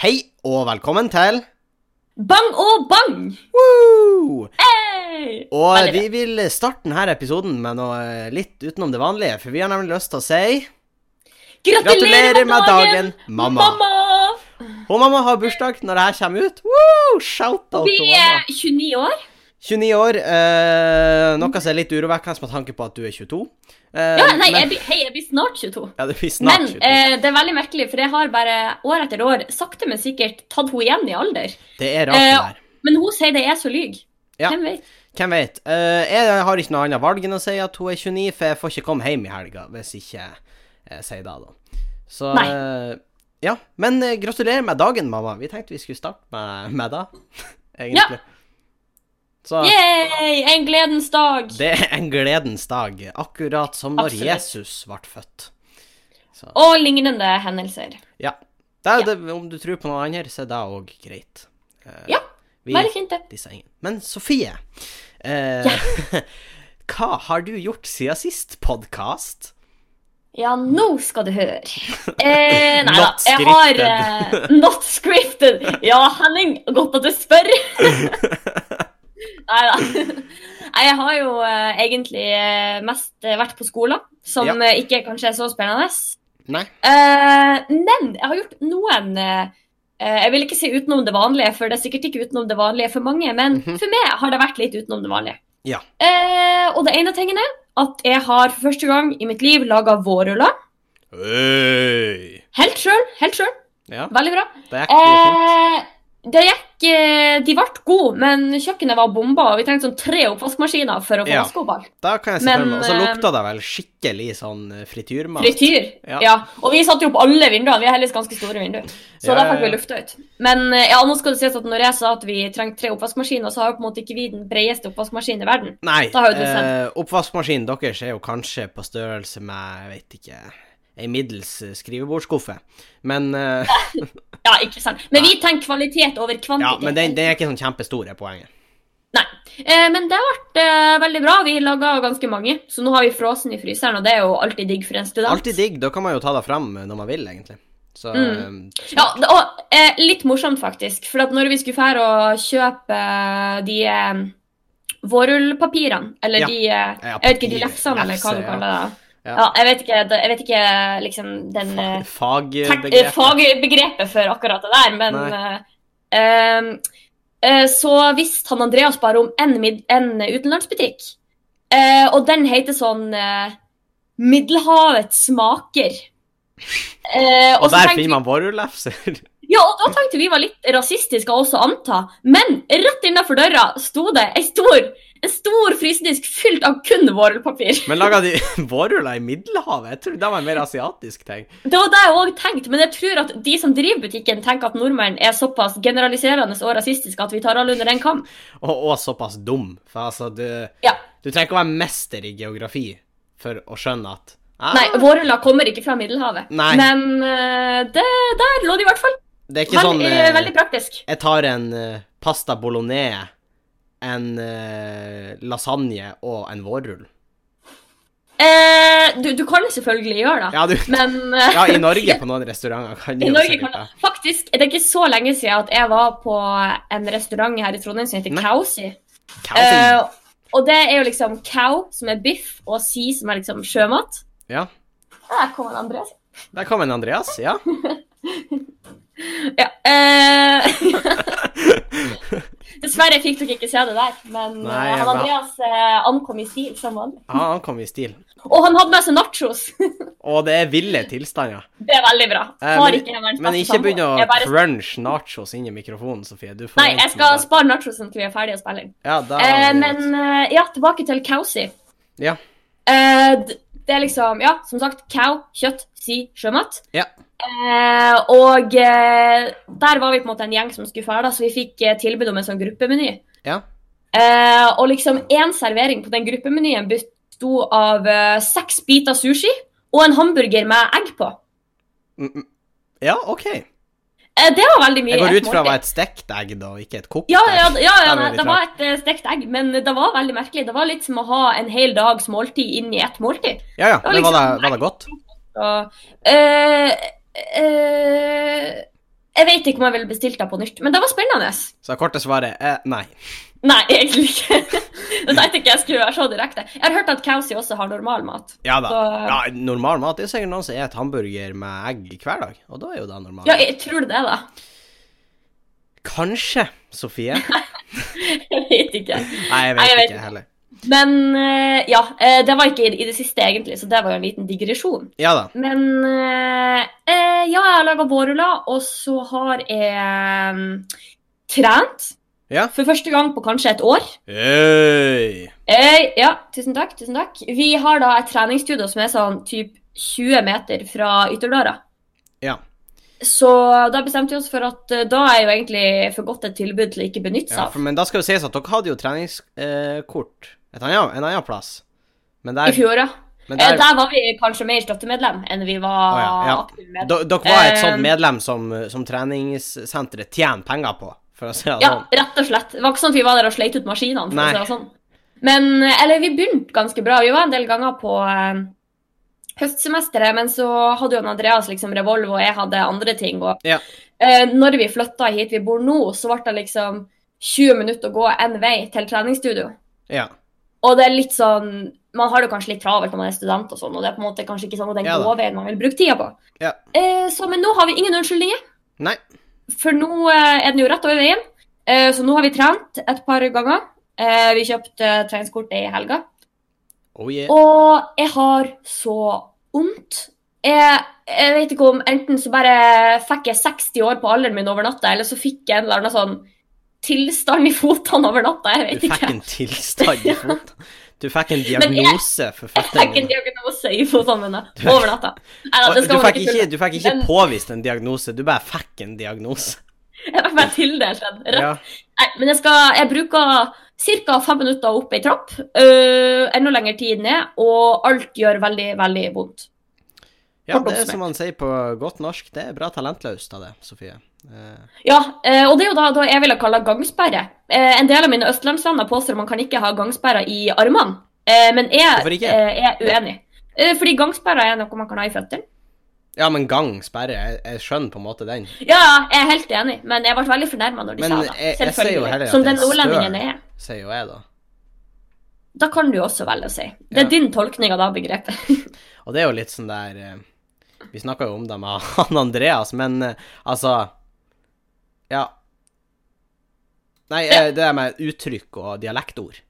Hei og velkommen til Bang og bang! Woo! Hey! Og Veldig vi vil starte denne episoden med noe eh, litt utenom det vanlige, for vi har nemlig lyst til å si Gratulerer med dagen, mamma! mamma! Og mamma har bursdag når det her kommer ut. Woo! Shout-out Vi til er mamma. 29 år. 29 år, eh, noe som er litt urovekkende med tanke på at du er 22. Eh, Ja, nei, men- jeg blir, hei, jeg blir snart 22. ja, du blir snart Men 22. eh, det er veldig merkelig, for jeg har bare år etter år sakte, men sikkert tatt henne igjen i alder. det er rart, det eh, her. Men hun sier det er så lyg. Ja. Hvem vet? Hvem vet. Eh, jeg har ikke noe annet valg enn å si at hun er 29, for jeg får ikke komme hjem i helga hvis ikke jeg eh, sier det, da. Så Nei. eh, Ja. Men eh, gratulerer med dagen, mamma. Vi tenkte vi skulle starte med, med det, egentlig. Så Yay, en gledens dag! Ah. det er en gledens dag, akkurat som når Absolutt. Jesus ble født. Så Og lignende hendelser. ja. Det er det, om du tror på noe annet, så er det òg greit. Eh, Ja, vi- Veldig fint, det. disse engene. Men Sofie, eh, hva har du gjort siden sist podkast? Ja, nå skal du høre. Eh, nei da. Not Jeg har eh, Not scripted. Ja, Henning, godt at du spør. nei da. Nei, jeg har jo eh, egentlig eh, mest eh, vært på skolen, som Ja. eh, ikke kanskje er så spennende. Nei. Eh, men jeg har gjort noen eh, eh, Jeg vil ikke si utenom det vanlige, for det er sikkert ikke utenom det vanlige for mange, men Mhm. for meg har det vært litt utenom det vanlige. Ja. Eh, og det ene tingen er at jeg har for første gang i mitt liv laga vårruller. Øy. Helt sjøl, helt sjøl. Ja, Veldig bra. det er ikke fint. Eh, det gikk, eh, De ble gode, men kjøkkenet var bomba, og vi trengte sånn tre oppvaskmaskiner for å få Ja. vaska opp alt. Da kan jeg se for men, meg. Og så eh, lukta det vel skikkelig sånn eh, frityrmat. Frityr. Ja. Ja. Og vi satte jo opp alle vinduene. Vi har heldigvis ganske store vinduer. Så Ja, der ja, fikk vi ja. lufta ut. Men eh, ja, nå skal det sies at når jeg sa at vi trengte tre oppvaskmaskiner, så har jo på en måte ikke vi den bredeste oppvaskmaskinen i verden. Nei, Da har jo du eh, oppvaskmaskinen deres er jo kanskje på størrelse med, jeg vet ikke, ei middels eh, skrivebordsskuffe. Men eh, Ja, ikke sant. Men vi tenker kvalitet over Ja, kvantitet. men den, den er ikke sånn kjempestor, er poenget. Eh, men det ble eh, veldig bra. Vi laga ganske mange, så nå har vi frosen i fryseren, og det er jo alltid digg for en student. Alltid digg. Da kan man jo ta det fram eh, når man vil, egentlig. Så Mm. eh, Ja, det- og eh, litt morsomt faktisk, for at når vi skulle fære og kjøpe eh, de eh, vårrullpapirene, eller Ja. de, eh, Ja, jeg vet ikke, de papir, lefsene, eller hva lefse, du ja. kaller det. Ja. Ja, ja jeg, vet ikke, det- jeg vet ikke liksom den eh, tek- eh, fagbegrep. fagbegrepet for akkurat det der, men Nei. eh, eh, eh, så visste han Andreas bare om en, mid en utenlandsbutikk, eh, og den heter sånn eh, Middelhavets smaker. Eh, Og der så tenkte vi- finner man vårrullefser. ja, og da tenkte vi var litt rasistiske også å anta, men rett innenfor døra sto det en stor, en stor frysedisk fylt av kun vårrullpapir. Men laga de vårruller i Middelhavet? Jeg trodde det var en mer asiatisk ting. Det var det jeg òg tenkte, men jeg tror at de som driver butikken, tenker at nordmenn er såpass generaliserende og rasistiske at vi tar alle under en kam. Og, og såpass dum. For altså, du, Ja. du trenger ikke å være mester i geografi for å skjønne at ah, Nei, vårruller kommer ikke fra Middelhavet. Nei. Men eh, det, der lå det i hvert fall. Det er ikke Vel, sånn eh, eh, veldig praktisk. Jeg tar en eh, pasta bolognese, en eh, lasagne og en vårrull. Eh, du, du kan selvfølgelig gjøre det, Ja, du, men eh, ja, i Norge på noen restauranter kan du I jo Norge sikkert kan det. Faktisk, det er ikke så lenge siden at jeg var på en restaurant her i Trondheim som heter Nei. Kausi. Kaosin. Eh, og det er jo liksom cow, som er biff, og si, som er liksom sjømat. Ja. Der kommer Andreas. Der kom en Andreas, ja. Ja, eh, Dessverre fikk dere ikke se det der, men eh, Nei, jeg han var- Andreas eh, ankom i stil som vanlig. Ja, han kom i stil. Og han hadde med seg nachos. Og det er ville tilstander. det er veldig bra. Eh, Har men- ikke jeg verdens Men beste ikke samboer. begynn å Jeg bare- crunch nachos inn i mikrofonen, Sofie. Du får Nei, jeg vente skal med det. spare nachosen til vi er ferdige å spille inn. Ja, da Eh, men eh, ja, tilbake til Kausi. Ja. Eh, d- det er liksom, ja, som sagt, cow, kjøtt, si, sjømat. Ja. Eh, og eh, der var vi på en måte en gjeng som skulle ferde, så vi fikk eh, tilbud om en sånn gruppemeny. Ja. Eh, og liksom én servering på den gruppemenyen besto av eh, seks biter sushi og en hamburger med egg på. Mm, mm. Ja, OK. Eh, det var veldig mye. Jeg i går et ut fra å måltid. være et stekt egg, da, ikke et kokt Ja, ja, egg. ja, ja Der var nei, vi det var et eh, stekt egg, men det var veldig merkelig. Det var litt som å ha en hel dags måltid inn i ett måltid. Ja, ja. var Men var det, liksom- var det godt? Og, eh, eh, Jeg vet ikke om jeg ville bestilt deg på nytt, men det var spennende. Så det korte svaret er eh, nei. Nei, egentlig ikke. Jeg tenkte ikke jeg skulle være så direkte. Jeg har hørt at Kausi også har normal mat. Ja da. Så- Ja, normal mat. Det er sikkert noen som spiser hamburger med egg hver dag, og da er jo det normalt. Ja, jeg tror det, da. Kanskje, Sofie. Jeg vet ikke. Nei, jeg vet, Nei, jeg vet ikke heller. Men eh, ja, eh, det var ikke i i det siste, egentlig, så det var jo en liten digresjon. Ja da. Men eh, eh, ja, jeg har laga vårruller, og så har jeg mm, trent. Ja. For første gang på kanskje et år. Øy. Eh, ja, tusen takk. tusen takk. Vi har da et treningsstudio som er sånn typ 20 meter fra ytterdøra. Ja. Så da bestemte vi oss for at eh, da er jo egentlig for godt et tilbud til å ikke benytte seg Ja, av. for, men da skal det sies at dere hadde jo treningskort eh, et annet, en annen plass. Men I der, fjor, ja. men Eh, der Der var vi kanskje mer støttemedlem enn vi var Å ja, ja. aktive medlem. do- Dere var et sånt Eh, medlem som, som treningssenteret tjener penger på, for å si det Ja, sånn. rett og slett. Det var ikke sånn at vi var der og sleit ut maskinene. for Nei. å si det sånn. Men, eh, eller Vi begynte ganske bra. Vi var en del ganger på eh, høstsemesteret, men så hadde jo han Andreas liksom revolver, og jeg hadde andre ting. Og, Ja. eh, når vi flytta hit vi bor nå, så ble det liksom 20 minutter å gå én vei til treningsstudio. Ja. Og det er litt sånn Man har det jo kanskje litt travelt når man er student, og sånn, og det er på en måte kanskje ikke sånn den Ja da. gåveien man vil bruke tida på. Ja. Eh, så, men nå har vi ingen unnskyldninger. Nei. For nå eh, er den jo rett over veien. Eh, Så nå har vi trent et par ganger. Eh, Vi kjøpte treningskortet i helga. Oh yeah. Og jeg har så vondt. Jeg, jeg vet ikke om enten så bare fikk jeg 60 år på alderen min over natta, eller så fikk jeg en eller annen sånn tilstand i fotene over natta. Jeg Du vet fikk ikke. en tilstand i foten. Du fikk en jeg- diagnose for Jeg fikk en føttene. diagnose i fotene mine sånn over natta. Nei, da, Og det Du skal man fikk ikke ikke, tulle med. du fikk ikke Men- påvist en diagnose, du bare fikk en diagnose. Jeg fikk bare tildelt den. Rett Ja. Nei, men jeg, skal, jeg bruker ca. fem minutter opp ei trapp. øh, enda lengre tid ned, og alt gjør veldig, veldig vondt. ja, Kort det er oppsummert. som man sier på godt norsk, det er bra talentløst av det, Sofie. Eh, Ja, eh, og det er jo da, da jeg ville kalle gangsperre. Eh, en del av mine østlandsvenner påstår man kan ikke ha gangsperre i armene, eh, men Hvorfor jeg ikke? eh, er uenig. Eh, fordi gangsperre er noe man kan ha i føttene. Ja, men gang, sperre, jeg, jeg skjønner på en måte den. Ja, jeg er helt enig, men jeg ble veldig fornærma når de Men sa det. jeg- jeg sier jo heller at Som det er den nordlendingen støl. jeg er. sier jo jeg, da. Da kan du jo også velge å si. Det Ja. er din tolkning av det begrepet. Og det er jo litt sånn der eh, Vi snakka jo om det med han Andreas, men eh, altså Ja. Nei, eh, det der med uttrykk og dialektord,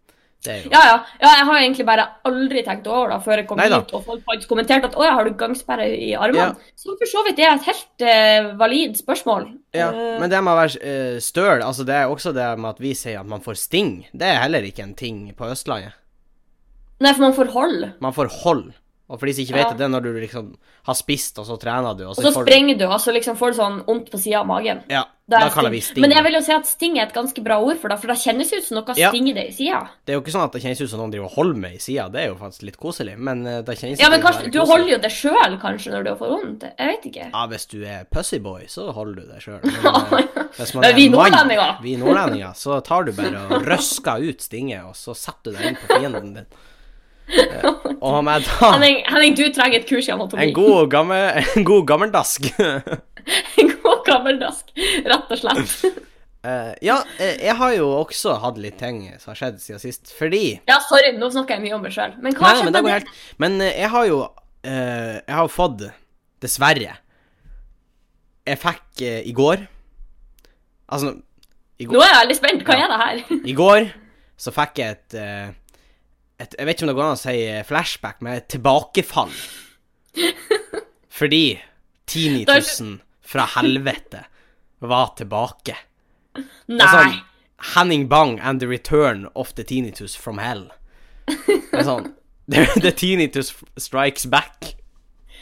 det er jo Ja, ja. ja jeg har jo egentlig bare aldri tenkt over det før jeg kom Neida. hit og folk faktisk kommenterte at 'Å ja, har du gangsperre i Ja. armene?' Så for så vidt er det et helt eh, valid spørsmål. Ja, Eh, men det med å være eh, støl, altså det er også det med at vi sier at man får sting, det er heller ikke en ting på Østlandet. Nei, for man får hold, Man får hold. Og for de som ikke vet Ja. det, det er når du liksom har spist, og så trener du, og og så, så får sprenger du, og så liksom får du sånn vondt på sida av magen. du Ja, Det er da kaller vi sting. Men jeg vil jo si at sting er et ganske bra ord for det, for det kjennes ut som noe Ja. stinger deg i sida. Det er jo ikke sånn at det kjennes ut som noen driver og holder med i sida, det er jo faktisk litt koselig, men eh, det kjennes Ja, ikke men ut som kanskje, det er du koselig. holder jo det sjøl, kanskje, når du får vondt. Jeg vet ikke. Ja, hvis du er pussyboy, så holder du deg sjøl. Men eh, hvis man Men er vi mann, nordlendinger. Vi nordlendinger, så tar du bare og røsker ut stinget, og så setter du deg inn på fienden din. Eh, Og med da Henning, Henning, du trenger et kurs i anatomi. en god, gammel, en god gammeldask en god gammeldask, rett og slett. Eh, Ja, eh, jeg har jo også hatt litt ting som har skjedd siden sist, fordi Ja, sorry, nå snakker jeg mye om meg sjøl. Men hva Nei, men det skjedde? går med helt Men eh, jeg har jo eh, Jeg har jo fått Dessverre Jeg fikk eh, i går Altså i går, Nå er jeg veldig spent. Hva Ja. er det her? I går så fikk jeg et, eh, et Jeg vet ikke om det går an å si eh, flashback, men et tilbakefall. Fordi 10 000 fra helvete var tilbake. Det Nei. er sånn Henning Bang and the return of the tinnitus from hell. Det er sånn The, the tinnitus strikes back.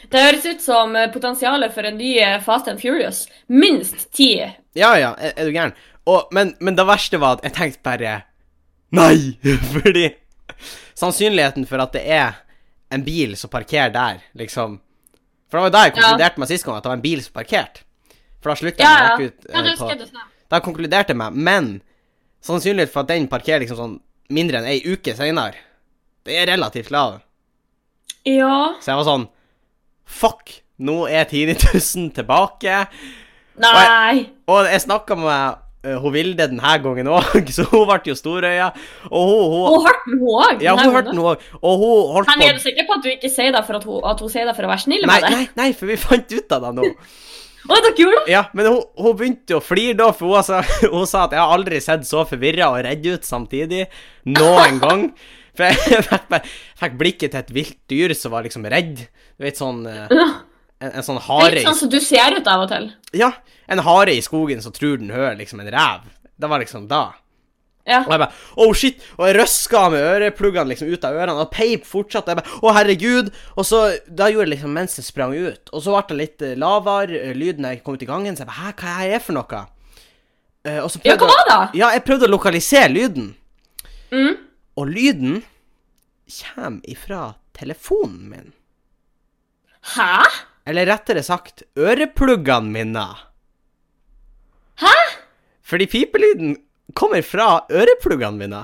Det høres ut som eh, potensialet for en ny eh, Fast and Furious. Minst ti. Ja, ja, er, er du gæren? Og, men, men det verste var at jeg tenkte bare Nei! Fordi sannsynligheten for at det er en bil som parkerer der, liksom For det var jo da jeg Ja. konkluderte meg sist gang, at det var en bil som parkerte. For da slutta Ja, jeg ja. meg ikke ja ut. eh, det på- husker jeg du sa. Da konkluderte jeg meg, men sannsynligheten for at den parkerer liksom sånn mindre enn ei uke seinere, det er relativt lav. Ja. Så jeg var sånn Fuck! Nå er 10 000 tilbake. Nei. Og jeg snakka med eh, hun Vilde denne gangen òg, så hun ble jo storøya. Og hun, hun, Hun hørte den, hun òg. ja, hun hørte den òg. Og hun holdt Henny, er du på sikker på at du ikke sier det for at hun, at hun sier det for å være snill Nei, med deg? nei, nei, for vi fant ut av det nå. Å, dere gjorde det? Ja, Men hun, hun begynte å flire da, for hun, sa- hun sa at jeg har aldri sett så forvirra og redd ut samtidig. Noen gang. For jeg fikk, bare- fikk blikket til et vilt dyr som var liksom redd. Du vet sånn eh, En, en sånn Det er hare litt i sånn som du ser ut av og til. Ja, en hare i skogen som tror den hører liksom en rev. Det var liksom da. Ja. Og jeg bare Oh, shit! Og jeg røska med ørepluggene liksom ut av ørene, og peip fortsatte. Jeg bare Å, herregud! Og så Da gjorde jeg liksom mens jeg sprang ut. Og så ble det litt eh, lavere eh, lyd når jeg kom ut i gangen, så jeg bare Hæ, hva er det her for noe? Eh, og så ja, hva jeg- var det? Ja, jeg prøvde å lokalisere lyden, Mm. og lyden kommer ifra telefonen min. Hæ? Eller rettere sagt, ørepluggene mine. Hæ? Fordi pipelyden kommer fra ørepluggene mine.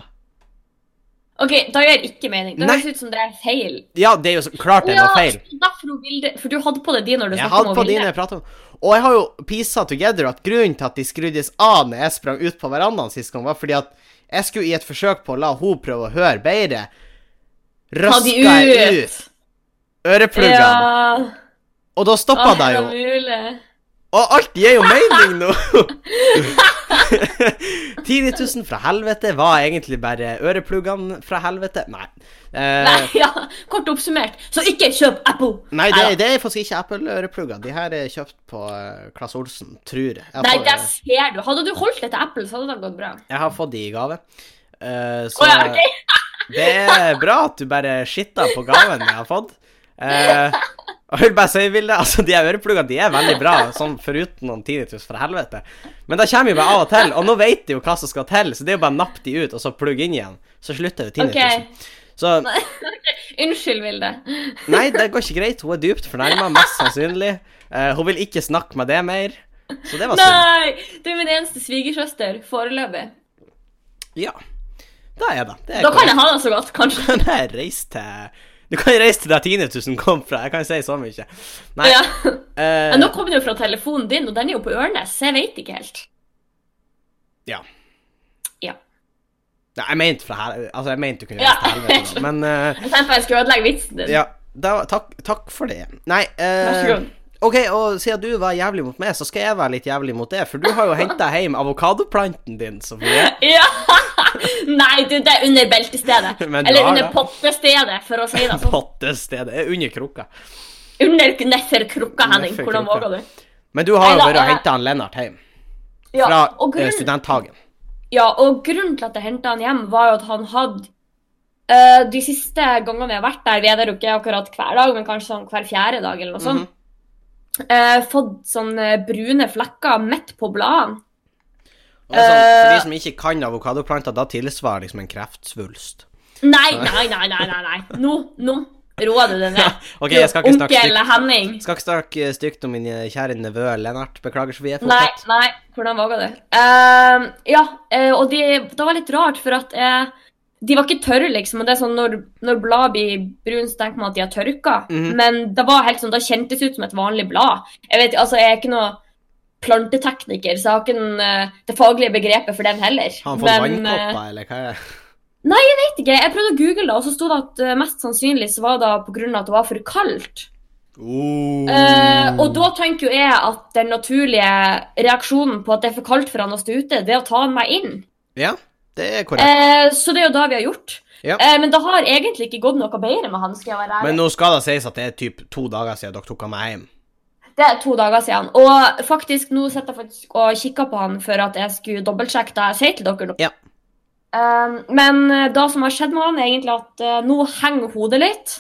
OK, da gjør ikke mening. Det Nei. høres ut som det er feil. Ja, det er jo så klart det er Ja, noe feil. så derfor hun Vilde, for du hadde på deg de når du Jeg snakket hadde om på hun dine Vilde. jeg pratet om. Og jeg har jo pisa together at grunnen til at de skruddes av når jeg sprang ut på verandaen sist gang, var fordi at jeg skulle i et forsøk på å la hun prøve å høre bedre. Ta de Røska jeg ut! ut ørepluggene. Ja. Og da stoppa Å, det det jo. Eh. var mulig. Og alt gir jo mening nå! 10 000 fra helvete var egentlig bare ørepluggene fra helvete. Nei. Eh, Nei, ja. Kort oppsummert, så ikke kjøp Apple. nei, det, Neida. det er faktisk ikke Apple-øreplugger. De her er kjøpt på eh, Claes Olsen, tror jeg. Jeg har, Nei, fått, det ser du. Hadde du holdt deg til Apple, så hadde det gått bra. jeg har fått de i gave. Eh, så Å ja, ok. det er bra at du bare skitta på gaven jeg har fått. Eh, og jeg vil bare si, Vilde, altså, de her ørepluggene de er veldig bra, sånn foruten noen tinnitus fra helvete. Men det kommer jo bare av og til, og nå vet de jo hva som skal til, så det er jo bare å nappe de ut, og så plugge inn igjen. Så slutter jo Ok. tinnitusen. Så Unnskyld, Vilde. nei, det går ikke greit. Hun er dypt fornærma, mest sannsynlig. Eh, hun vil ikke snakke med det mer. Så det var synd. Nei! Du er min eneste svigersøster foreløpig. Ja. Da er det. det er Da kan jeg ha det så godt, kanskje. korrekt. Nei, reis til Du kan reise til der tinnitusen kom fra, jeg kan si så mye. Nei. Ja. eh, Men nå kom det jo fra telefonen din, og den er jo på Ørnes, så jeg vet ikke helt. Ja. Ja. Nei, jeg mente fra her Altså, jeg mente du kunne Ja. reise til helvete, men eh, Jeg tenkte jeg skulle ødelegge vitsen din. Ja, da, takk, takk for det. Nei eh, Vær så god. OK, og siden du var jævlig mot meg, så skal jeg være litt jævlig mot deg, for du har jo henta hjem avokadoplanten din, Sofie. Ja! Nei, du, det er under beltestedet. Men du Eller har under det. pottestedet, for å si det sånn. Pottestedet. Under krukka. Under nedfor krukka, Henning. Nedfor Hvordan krukka. våger du? Men du har jo Neida, vært og jeg- henta Lennart hjem Ja, fra og eh, grunnen- studenthagen. Ja, og grunnen til at jeg hentet han hjem, var jo at han hadde eh, De siste gangene vi har vært der, vi er der jo ikke akkurat hver dag, men kanskje sånn hver fjerde dag eller noe Mhm. sånt, eh, fått sånne brune flekker midt på bladene. Og det er sånn, for Eh. de som ikke kan avokadoplanter, da tilsvarer liksom en kreftsvulst. Nei, nei, nei, nei, nei. nei. Nå, nå roer du deg ned. OK, jeg skal ikke snakke stygt, Onkel Henning. skal ikke snakke eh, stygt om min kjære nevø Lennart. Beklager, Sofie. Nei, Fortsett. nei, hvordan våga du? Eh, ja, eh, og de, det var litt rart, for at eh, de var ikke tørre, liksom. Og det er sånn, når, når blad blir brune, så tenker man at de har tørka. Mhm. Men det var helt sånn, det kjentes ut som et vanlig blad. Jeg vet, altså, jeg er ikke noe plantetekniker, så jeg har ikke den, eh, det faglige begrepet for den heller. Har han fått Men, eh, vannkopper, eller hva er det? vet ikke, jeg prøvde å google det, og så sto det at eh, mest sannsynlig så var det pga. at det var for kaldt. Oh. Eh, og da tenker jo jeg at den naturlige reaksjonen på at det er for kaldt for han å stå ute, det er å ta han meg inn. Ja, det er korrekt. Eh, så det er jo det vi har gjort. Ja. Eh, men det har egentlig ikke gått noe bedre med han. skal jeg være Men ærlig. nå skal det sies at det er typ to dager siden dere tok han med hjem. Det er to dager siden. Og faktisk, nå sitter jeg faktisk og kikker på han for at jeg skulle dobbeltsjekke det jeg sier til dere nå. Ja. Eh, men eh, det som har skjedd med han, er egentlig at eh, nå henger hodet litt.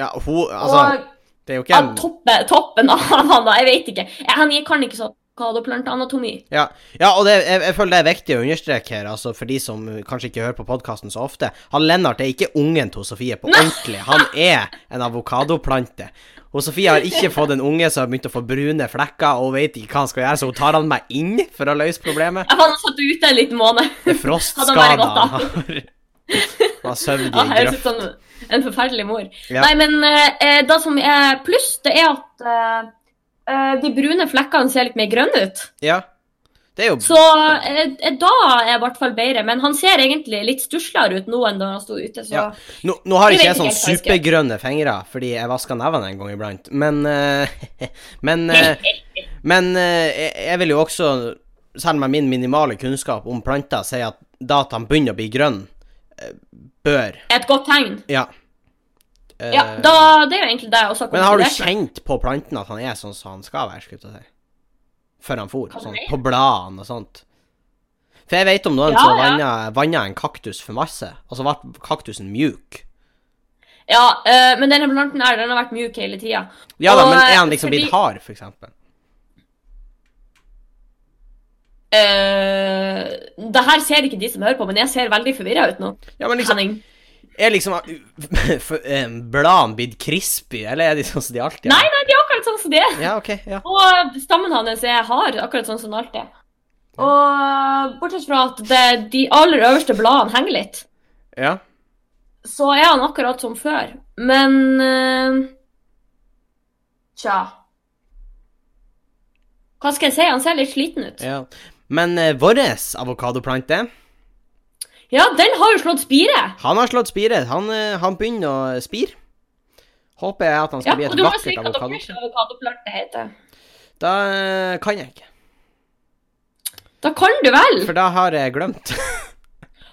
Ja, hun Altså, og det er jo ikke ja, en toppen, toppen av han, da. Jeg vet ikke. Jeg, han kan ikke sånn kadoplanteanatomi. Ja, ja og det, jeg, jeg føler det er viktig å understreke her, altså for de som kanskje ikke hører på podkasten så ofte. Han Lennart er ikke ungen til Sofie på ordentlig. Han er en avokadoplante. Og Sofie har ikke fått en unge som har begynt å få brune flekker og vet ikke hva han skal gjøre, så hun tar han meg inn for å løse problemet. Jeg fant han satt ute en liten måned. Det er Hadde han frostskader bare han gått har. Han har søvn i Ja, jeg grøft. synes sånn, en forferdelig mor. Ja. Nei, men eh, eh, det som er pluss, det er at eh, eh, de brune flekkene ser litt mer grønne ut. Ja. Det er jo Så eh, eh, da er jeg i hvert fall bedre. Men han ser egentlig litt stuslere ut nå enn da han sto ute, så Ja. Nå, nå har Jeg ikke vet jeg sånn ikke helt hva jeg supergrønne fingre, fordi jeg vasker nevene en gang iblant, men eh, Men, eh, men eh, jeg- jeg vil jo også, selv med min minimale kunnskap om planter, si at da at han begynner å bli grønn, eh, bør et godt tegn. Ja. Eh, Ja, da, det er jo egentlig det jeg også har men har du konkludert. kjent på planten at han er sånn som han skal være, skulle jeg til å si? Før han for, Hva sånn, mener på bladene og sånt. For jeg vet om noen Ja, som ja. vannet vannet en kaktus for masse, og så ble kaktusen mjuk. Ja, eh, men denne planten her, den har vært mjuk hele tida. Ja da, Og, men er han eh, liksom fordi- blitt hard, for eksempel? Eh, det her ser ikke de som hører på, men jeg ser veldig forvirra ut nå. sånn, Ja, men liksom, Henning. er liksom uh, for, eh, bladene blitt crispy, eller er de sånn som de alltid Nei, nei, de er akkurat sånn som de er. Ja, ok, ja. Og stammen hans er hard, akkurat sånn som den alltid er. Og bortsett fra at det, de aller øverste bladene henger litt, ja. så er han akkurat som før. Men eh, Tja. Hva skal jeg si? Han ser litt sliten ut. Ja, ja. Men uh, vår avokadoplante, den har jo slått spire! han har slått spire. Han, eh, han begynner å spire. Håper jeg at han Ja, skal bli og et du må si vakkert hva avokado. deres avokadoplante heter. Da eh, kan jeg ikke, Da kan du vel! for da har jeg glemt.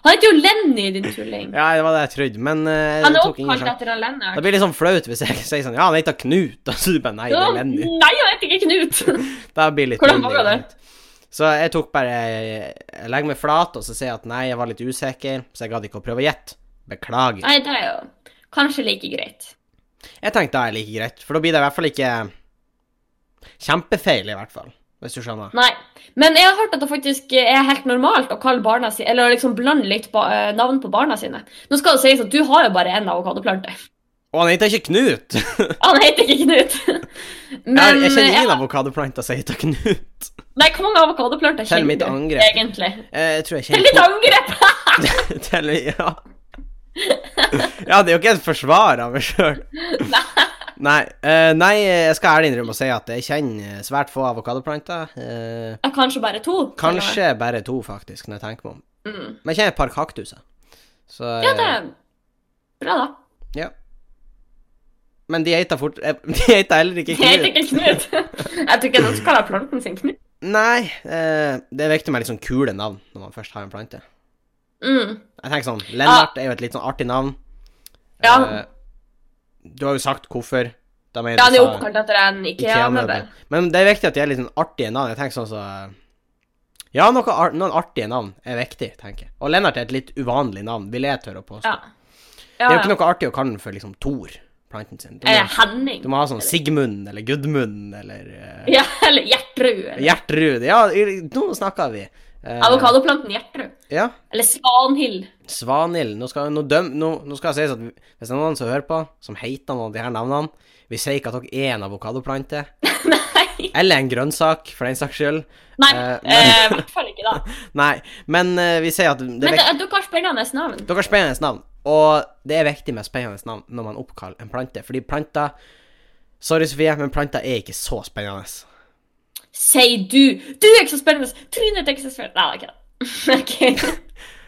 Han heter jo Lenny, din tulling. ja, det var det jeg trodde, men eh, Han det er tok ingen oppkalt sjanse. etter han Det Lennart. blir litt sånn flaut hvis jeg sier sånn Ja, han heter Knut. Da sier du bare nei, det er Lenny. Nei, han heter ikke Knut! Det blir litt Hvordan mindre var det? greit. Så jeg tok bare eh, Jeg legger meg flat, og så sier jeg at nei, jeg var litt usikker, så jeg gadd ikke å prøve å gjette. Beklager. Nei, det er jo kanskje like greit. Jeg tenkte "Ah, det er like greit, for da blir det i hvert fall ikke kjempefeil, i hvert fall. Hvis du skjønner. Nei. Men jeg har hørt at det faktisk er helt normalt å kalle barna sine Eller å liksom blande litt ba eh, navn på barna sine. Nå skal det sies at du har jo bare én avokadoplante. Og han heter ikke Knut! Jeg Han heter ikke Knut. har- Men jeg kjenner ingen eh, avokadoplanter som heter Knut. Nei, hvor mange avokadoplanter Til mitt kjenner du angrep. egentlig? Eh, Jeg tror jeg Til ditt kjenner angrep! på Til Ja. Ja, det er jo ikke et forsvar av meg sjøl. Nei, eh, nei, jeg skal ærlig innrømme å si at jeg kjenner svært få avokadoplanter. Eh, Ja, Kanskje bare to? til og med. Kanskje bare to, faktisk, når jeg tenker meg om. Mm. Men jeg kjenner et par kaktuser. Så, Ja, det er bra, da. Men de heter fort eh, De heter heller ikke Jeg heter Knut. ikke Knut. Jeg tror ikke noen skal kalle planten sin Knut. Nei, eh, det er viktig med litt sånn kule navn når man først har en plante. Mm. Jeg tenker sånn, Lennart er jo et litt sånn artig navn. Ah. Ja. Eh, du har jo sagt hvorfor. Da mener Ja, han er du jo sa- oppkalt etter en IKEA-møbel. Ikea-møbel. sånn Men det er viktig at de er litt sånn artige navn. Jeg tenker sånn så Ja, noe, ar- noen artige navn er viktig, tenker jeg. Og Lennart er et litt uvanlig navn, vil jeg tørre å påstå. Ja. Ja, Det er jo ikke ja. noe artig å kalle den for liksom Thor, planten sin. Du Eh, må, Henning. du må ha sånn Sigmund eller Gudmund eller eh, Ja, eller Gjertrud. eller- Gjertrud. Ja, i- nå snakker vi. Eh, Avokadoplanten Gjertrud. Ja. Eller Svanhild. Svanhild. Nå skal, nå døm, nå, nå skal jeg sies at vi- hvis det er noen som hører på, som heter noen av de her navnene Vi sier ikke at dere er en avokadoplante, Nei, eller en grønnsak, for den saks skyld. Nei, Eh, eh, men- i hvert fall ikke da. Nei, men eh, vi sier at det er Men viktig. det- dere har spennende navn. Dere har spennende navn, og det er viktig med spennende navn når man oppkaller en plante, fordi planter Sorry, Sofie, men planter er ikke så spennende. Sier du. Du er ikke så spennende. Trine er ikke så spennende. Nei, det er ikke det. Ok.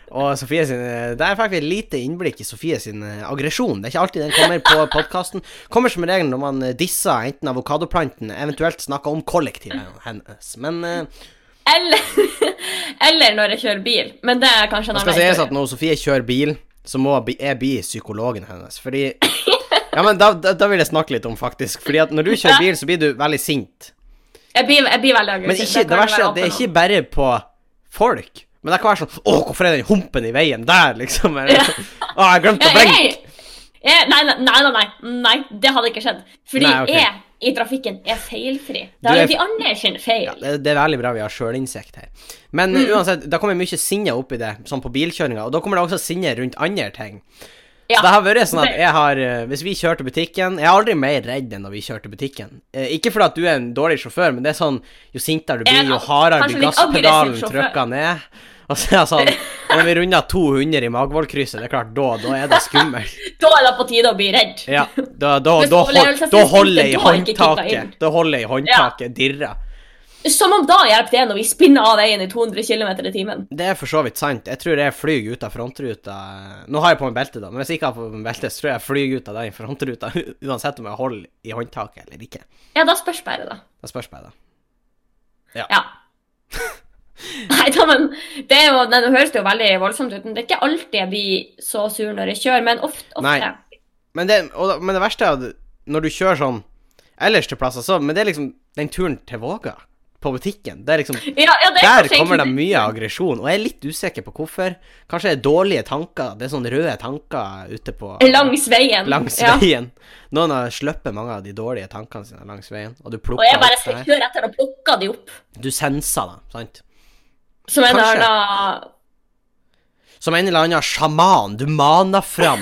Og Sofie sin, eh, Der fikk vi et lite innblikk i Sofie sin eh, aggresjon. Det er ikke alltid den kommer på podkasten. Kommer som regel når man eh, disser enten avokadoplanten, eventuelt snakker om kollektivet hennes. Men eh, Eller, eller når jeg kjører bil. Men det er kanskje en det annen skal sies historie. at når Sofie kjører bil, så må jeg bli- jeg bli psykologen hennes. Fordi Ja, men da, da, da vil jeg snakke litt om, faktisk. Fordi at når du kjører bil, så blir du veldig sint. Jeg blir, jeg blir veldig aggressiv. Men ikke, kan det jeg verste er være at det er åpen om. ikke bare på folk. Men det kan være sånn Å, hvorfor er den humpen i veien der, liksom? Eller, å, jeg glemte Ja, å blinke. jeg- jeg- Nei, nei, nei, nei, nei, nei, det hadde ikke skjedd. Fordi Nei, ok. jeg i trafikken er feilfri. Du Da er er- det de andre sin feil. Det, det er veldig bra vi har sjølinnsikt her. Men Mm. eh, uansett, da kommer mye sinne opp i det, sånn på bilkjøringa, og da kommer det også sinne rundt andre ting. Ja. Så det har vært sånn at jeg har eh, Hvis vi kjører til butikken Jeg er aldri mer redd enn når vi kjører til butikken. Eh, ikke fordi at du er en dårlig sjåfør, men det er sånn Jo sintere du blir, Jeg er jo hardere kanskje blir litt aggressiv gasspedalen sjåfør. trykka ned. Og så er jeg sånn Når vi runder 200 i Magvollkrysset, det er klart, da, da er det skummelt. Da er det på tide å bli redd. Ja, da, da, Men da, overlevelse hold- da holder jeg i da har ikke kicka inn. håndtaket. Da holder jeg i håndtaket, dirrer. Som om da hjelper det når vi spinner av veien i 200 km i timen. Det er for så vidt sant. Jeg tror jeg flyr ut av frontruta Nå har jeg på meg belte, da, men hvis jeg ikke har på meg belte, så tror jeg jeg flyr ut av den frontruta uansett om jeg holder i håndtaket eller ikke. Ja, da spørs bare, da. Det spørs bare, da. Ja. Nei da, men det er jo, nei, nå høres det jo veldig voldsomt ut, men det er ikke alltid jeg blir så sur når jeg kjører, men ofte. ofte. Nei. Men det, og, men det verste er at når du kjører sånn ellers til plasser, så Men det er liksom den turen til Våga, på butikken, det er liksom Ja, ja, det er Der kanskje egentlig kommer det det. mye aggresjon, og jeg er litt usikker på hvorfor. Kanskje det er dårlige tanker. Det er sånne røde tanker ute på Langs veien. langs Ja. veien. Noen har sluppet mange av de dårlige tankene sine langs veien, og du Og plukker jeg bare opp det her. kjører etter og plukker de opp. Du senser dem, sant? Som en Kanskje. eller annen Som en eller annen sjaman. Du maner fram.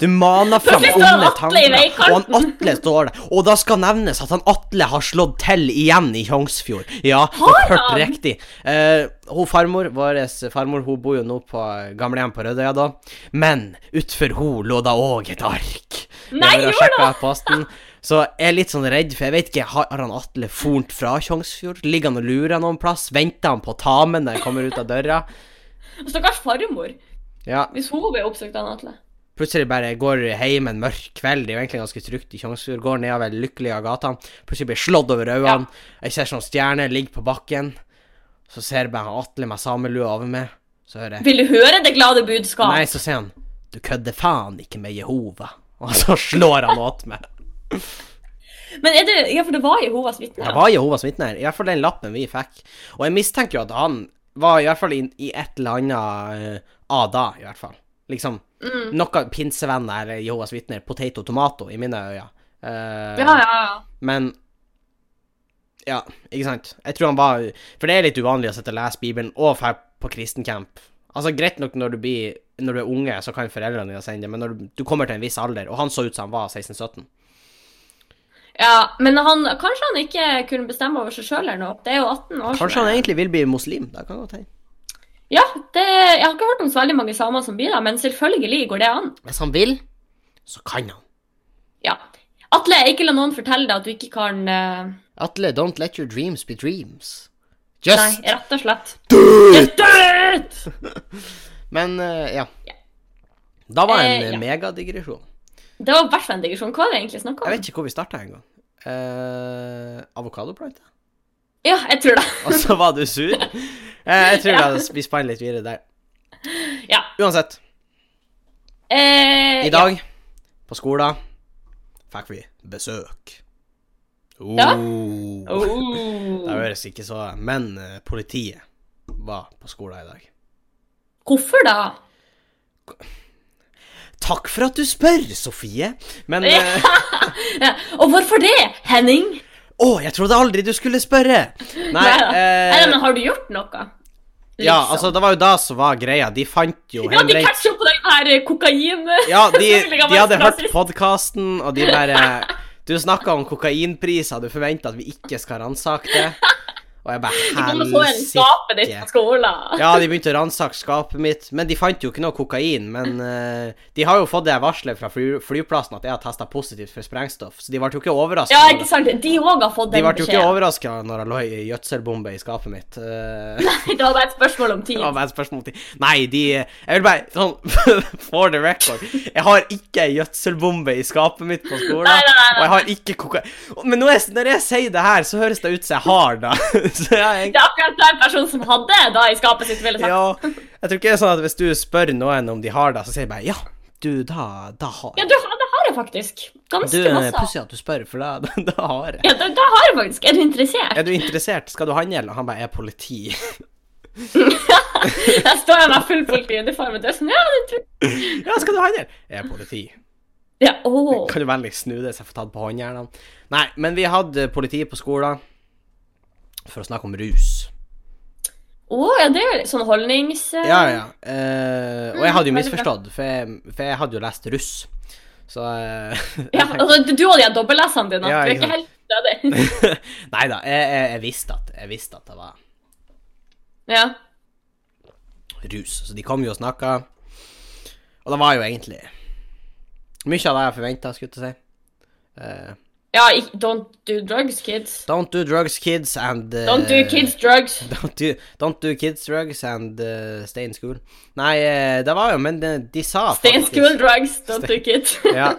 Du maner fram Plutselig står han onde Atle i tanker. Og veikanten. han Atle står der. Og da skal nevnes at han Atle har slått til igjen i Tjongsfjord. Ja, du Har har hørt han? riktig. Eh, hun farmor, vår farmor, hun bor jo nå på gamlehjem på Rødøya, da. Men utfor hun lå da òg et ark. Det Nei, har jeg gjorde sjekket posten. Så jeg er litt sånn redd, for jeg vet ikke, har han Atle fornt fra Tjongsfjord? Ligger han og lurer noen plass? Venter han på Tamen når han kommer ut av døra? Stakkars farmor. Ja, Hvis hun blir oppsøkt av en Atle. Plutselig bare går hjem en mørk kveld, det er jo egentlig ganske trygt i Tjongsfjord, går nedover lykkelige gata, plutselig blir jeg slått over øynene, jeg ser sånn stjerne ligger på bakken, så ser jeg bare Atle med samelua over meg, så hører jeg Vil du høre det glade budskap? Nei, så sier han Du kødder faen ikke med Jehova, og så slår han åt meg. Men er det, ja, for det var Jehovas vitne. Jeg var Jehovas vitner, i hvert fall den lappen vi fikk, og jeg mistenker jo at han var i hvert fall i, i et eller annet eh, ADA, i hvert fall. Liksom Mm. noe pinsevenner eller Jehovas vitner, potato tomato, i mine øyne. Eh, Ja, ja, ja. Men Ja, ikke sant? Jeg tror han var For det er litt uvanlig å sitte og lese Bibelen og dra på kristencamp. Altså, greit nok når du, blir, når du er unge, så kan foreldrene dine sende det, men når du, du kommer til en viss alder Og han så ut som han var 16-17. ja. Men han, kanskje han ikke kunne bestemme over seg sjøl eller noe. Det er jo 18 år. Kanskje han egentlig vil bli muslim? Det kan godt hende. Ja, det, jeg har ikke hørt om så veldig mange samer som blir det, men selvfølgelig går det an. Hvis han vil, så kan han. Ja. Atle, ikke la noen fortelle deg at du ikke kan eh, Atle, don't let your dreams be dreams. Nei, Just rett og slett. Død! Død! Men, eh, ja. Ja. Da var en Eh, eh, ja. megadigresjon. Det var i hvert fall en digresjon. Hva var det egentlig snakk om? Jeg vet ikke hvor vi starta engang. Uh, Avokadoplante? Ja, jeg tror det. Og så Altså, var du sur. Eh, jeg tror da vi spann litt videre der. Ja. Uansett, Eh, i dag på skolen fikk vi besøk. Oh. Ja. Ja. Det Oh. høres ikke så Men eh, politiet var på skolen i dag. Hvorfor da? Takk for at du spør, Sofie. Men eh, Ja. Og hvorfor det, Henning? Å, jeg trodde aldri du skulle spørre! Nei, Neida. eh, Nei, men har du gjort noe? Liksom. ja, altså, det var jo da som var greia. De fant jo sånn. Ja, de henbrent catcher på den her eh, kokain... Ja, de, Selvfølgelig kan de man hadde hørt splasses. podkasten, og de bare Du snakka om kokainpriser, du forventa at vi ikke skal ransake det. Og jeg De bare kommer og får en skape ditt på skolen. Ja, de begynte å ransake skapet mitt, men de fant jo ikke noe kokain. Men eh, de har jo fått det varselet fra fly, flyplassen at jeg har testa positivt for sprengstoff, så de ble jo ikke overraska. Ja, ikke sant? De òg har fått de den ble jo ikke beskjeden. overraska når det lå ei gjødselbombe i skapet mitt. Eh, Det var bare et spørsmål om tid. Ja, men spørsmål til Nei, de Jeg vil bare sånn For the record. Jeg har ikke ei gjødselbombe i skapet mitt på skolen. Nei, nei, nei, nei. Og jeg har ikke koka... Men når jeg, når jeg sier det her, så høres det ut som jeg har det. Så jeg, Det er akkurat den personen som hadde da i skapet sitt ville sagt. ja, jeg tror ikke det er sånn at hvis du spør noen om de har det, så sier jeg bare ja, du, da, da har Ja, jeg. du, det har jeg faktisk. Du, Ganske eh, masse. pussig at du spør, for da, da, da har jeg. Ja, det, det har jeg faktisk. Er du interessert? Er du interessert? Skal du handle? Og han bare er politi. Der står jeg med full politiuniform og det er sånn, ja, det tror jeg. Ja, skal du handle? Jeg er politi. Ja, åh. Kan du veldig snu det så jeg får tatt på håndjernene? Nei, men vi hadde politiet på skolen for å snakke om rus. Åh, ja, det er jo sånn holdnings... eh, Ja, ja. Eh, og jeg hadde jo Mm, veldig bra. misforstått, for jeg, for jeg hadde jo lest russ. Så eh, Ja, altså, du og de her dobbeltlesene dine, Ja, du er ikke ikke helt stødig. Nei da, jeg, jeg, jeg, visste at, jeg visste at det var Ja. rus. Så de kom jo og snakka. Og det var jo egentlig mye av det jeg forventa, skulle jeg til å si. Eh, Ja, ik- don't do drugs, kids. don't do drugs, kids, and eh, Don't do kids drugs. Don't do, don't do kids drugs and eh, stay in school. Nei, eh, det var jo Men de, de sa Stay in faktisk- school drugs, don't do kids. Ja.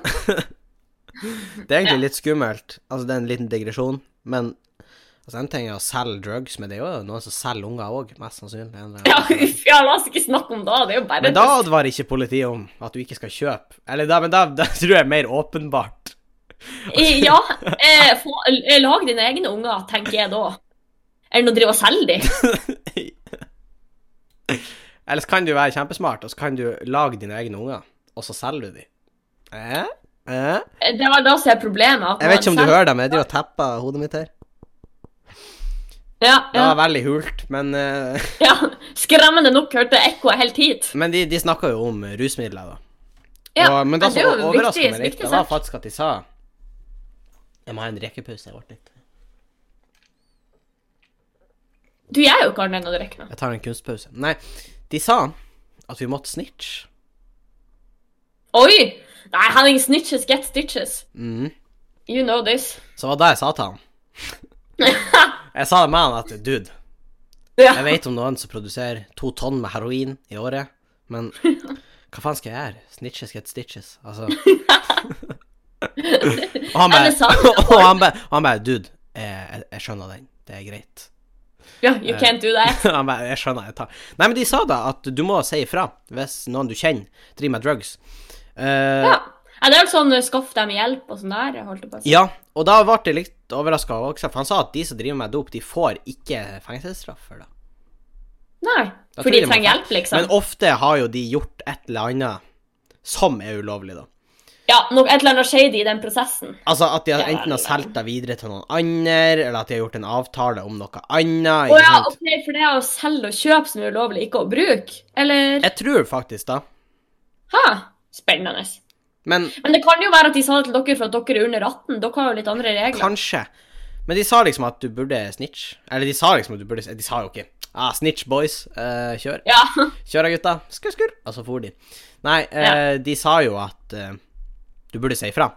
Det er egentlig litt skummelt. Altså, det er en liten digresjon, men altså, en ting er å selge drugs, men det er jo noen som selger unger òg, mest sannsynlig. en eller Ja, annen gang. uff, ja, la oss ikke snakke om det. Det er jo bare Men da advarer ikke politiet om at du ikke skal kjøpe. Eller da, men da, da tror jeg er mer åpenbart. I- Ja. Eh, få, eh, lag dine egne unger, tenker jeg da. Eller å drive og selge dem. Ellers kan du være kjempesmart, og så kan du lage dine egne unger, og så selger du de. Eh? Eh? Det var det som er problemet. at Jeg vet ikke om du man hører dem, jeg driver og tepper hodet mitt her. selger- Ja, Det var ja, veldig hult, men eh, ja. Skremmende nok hørte jeg ekkoet helt hit. Men de, de snakka jo om rusmidler, da. Ja, og, men det men det som er jo overraska viktig- meg litt, det viktig var sak. faktisk at de sa Jeg må ha en rekepause. Jeg ble litt Du gjør jo ikke annet enn å drikke nå. Jeg tar en kunstpause. Nei, de sa at vi måtte snitche. Oi! Nei, Henning snitches get stitches. Mm. You know this. Så var det jeg sa til han. jeg sa det med han at Dude, jeg Ja. vet om noen som produserer to tonn med heroin i året, men hva faen skal jeg gjøre? Snitches get stitches. Altså Og han Er det sant? bare Og han bare- og han bare Dude, jeg, jeg- jeg skjønner den. Det er greit. ja, you can't do that. Han bare, jeg skjønner, jeg tar Nei, men de sa da at du må si ifra hvis noen du kjenner driver med drugs. Eh, ja. Ja. Ja, det er jo ikke sånn eh, skaff dem hjelp og sånn der. jeg holdt på å si. og da ble jeg litt overraska også, for han sa at de som driver med dop, de får ikke fengselsstraff for det. Nei, Da tror for de jeg man trenger kan- hjelp, liksom. Men ofte har jo de gjort et eller annet som er ulovlig, da. Ja, noe, et eller annet shady i den prosessen. Altså at de har Ja, enten har ja. solgt det videre til noen andre, eller at de har gjort en avtale om noe annet. Å Ikke ja, sant? ok, for det er å selge og kjøpe som er ulovlig, ikke å bruke? Eller? Jeg tror faktisk da Ha, spennende. Men Men det kan jo være at de sa det til dere for at dere er under 18. Dere har jo litt andre regler. Kanskje. Men de sa liksom at du burde snitch. Eller de sa liksom at du burde De sa jo ikke ah, 'Snitch, boys. Eh, kjør. Ja, Kjør da, gutta. Skur, skur.' Og så for de. Nei, eh, de sa jo at eh, du burde si ifra.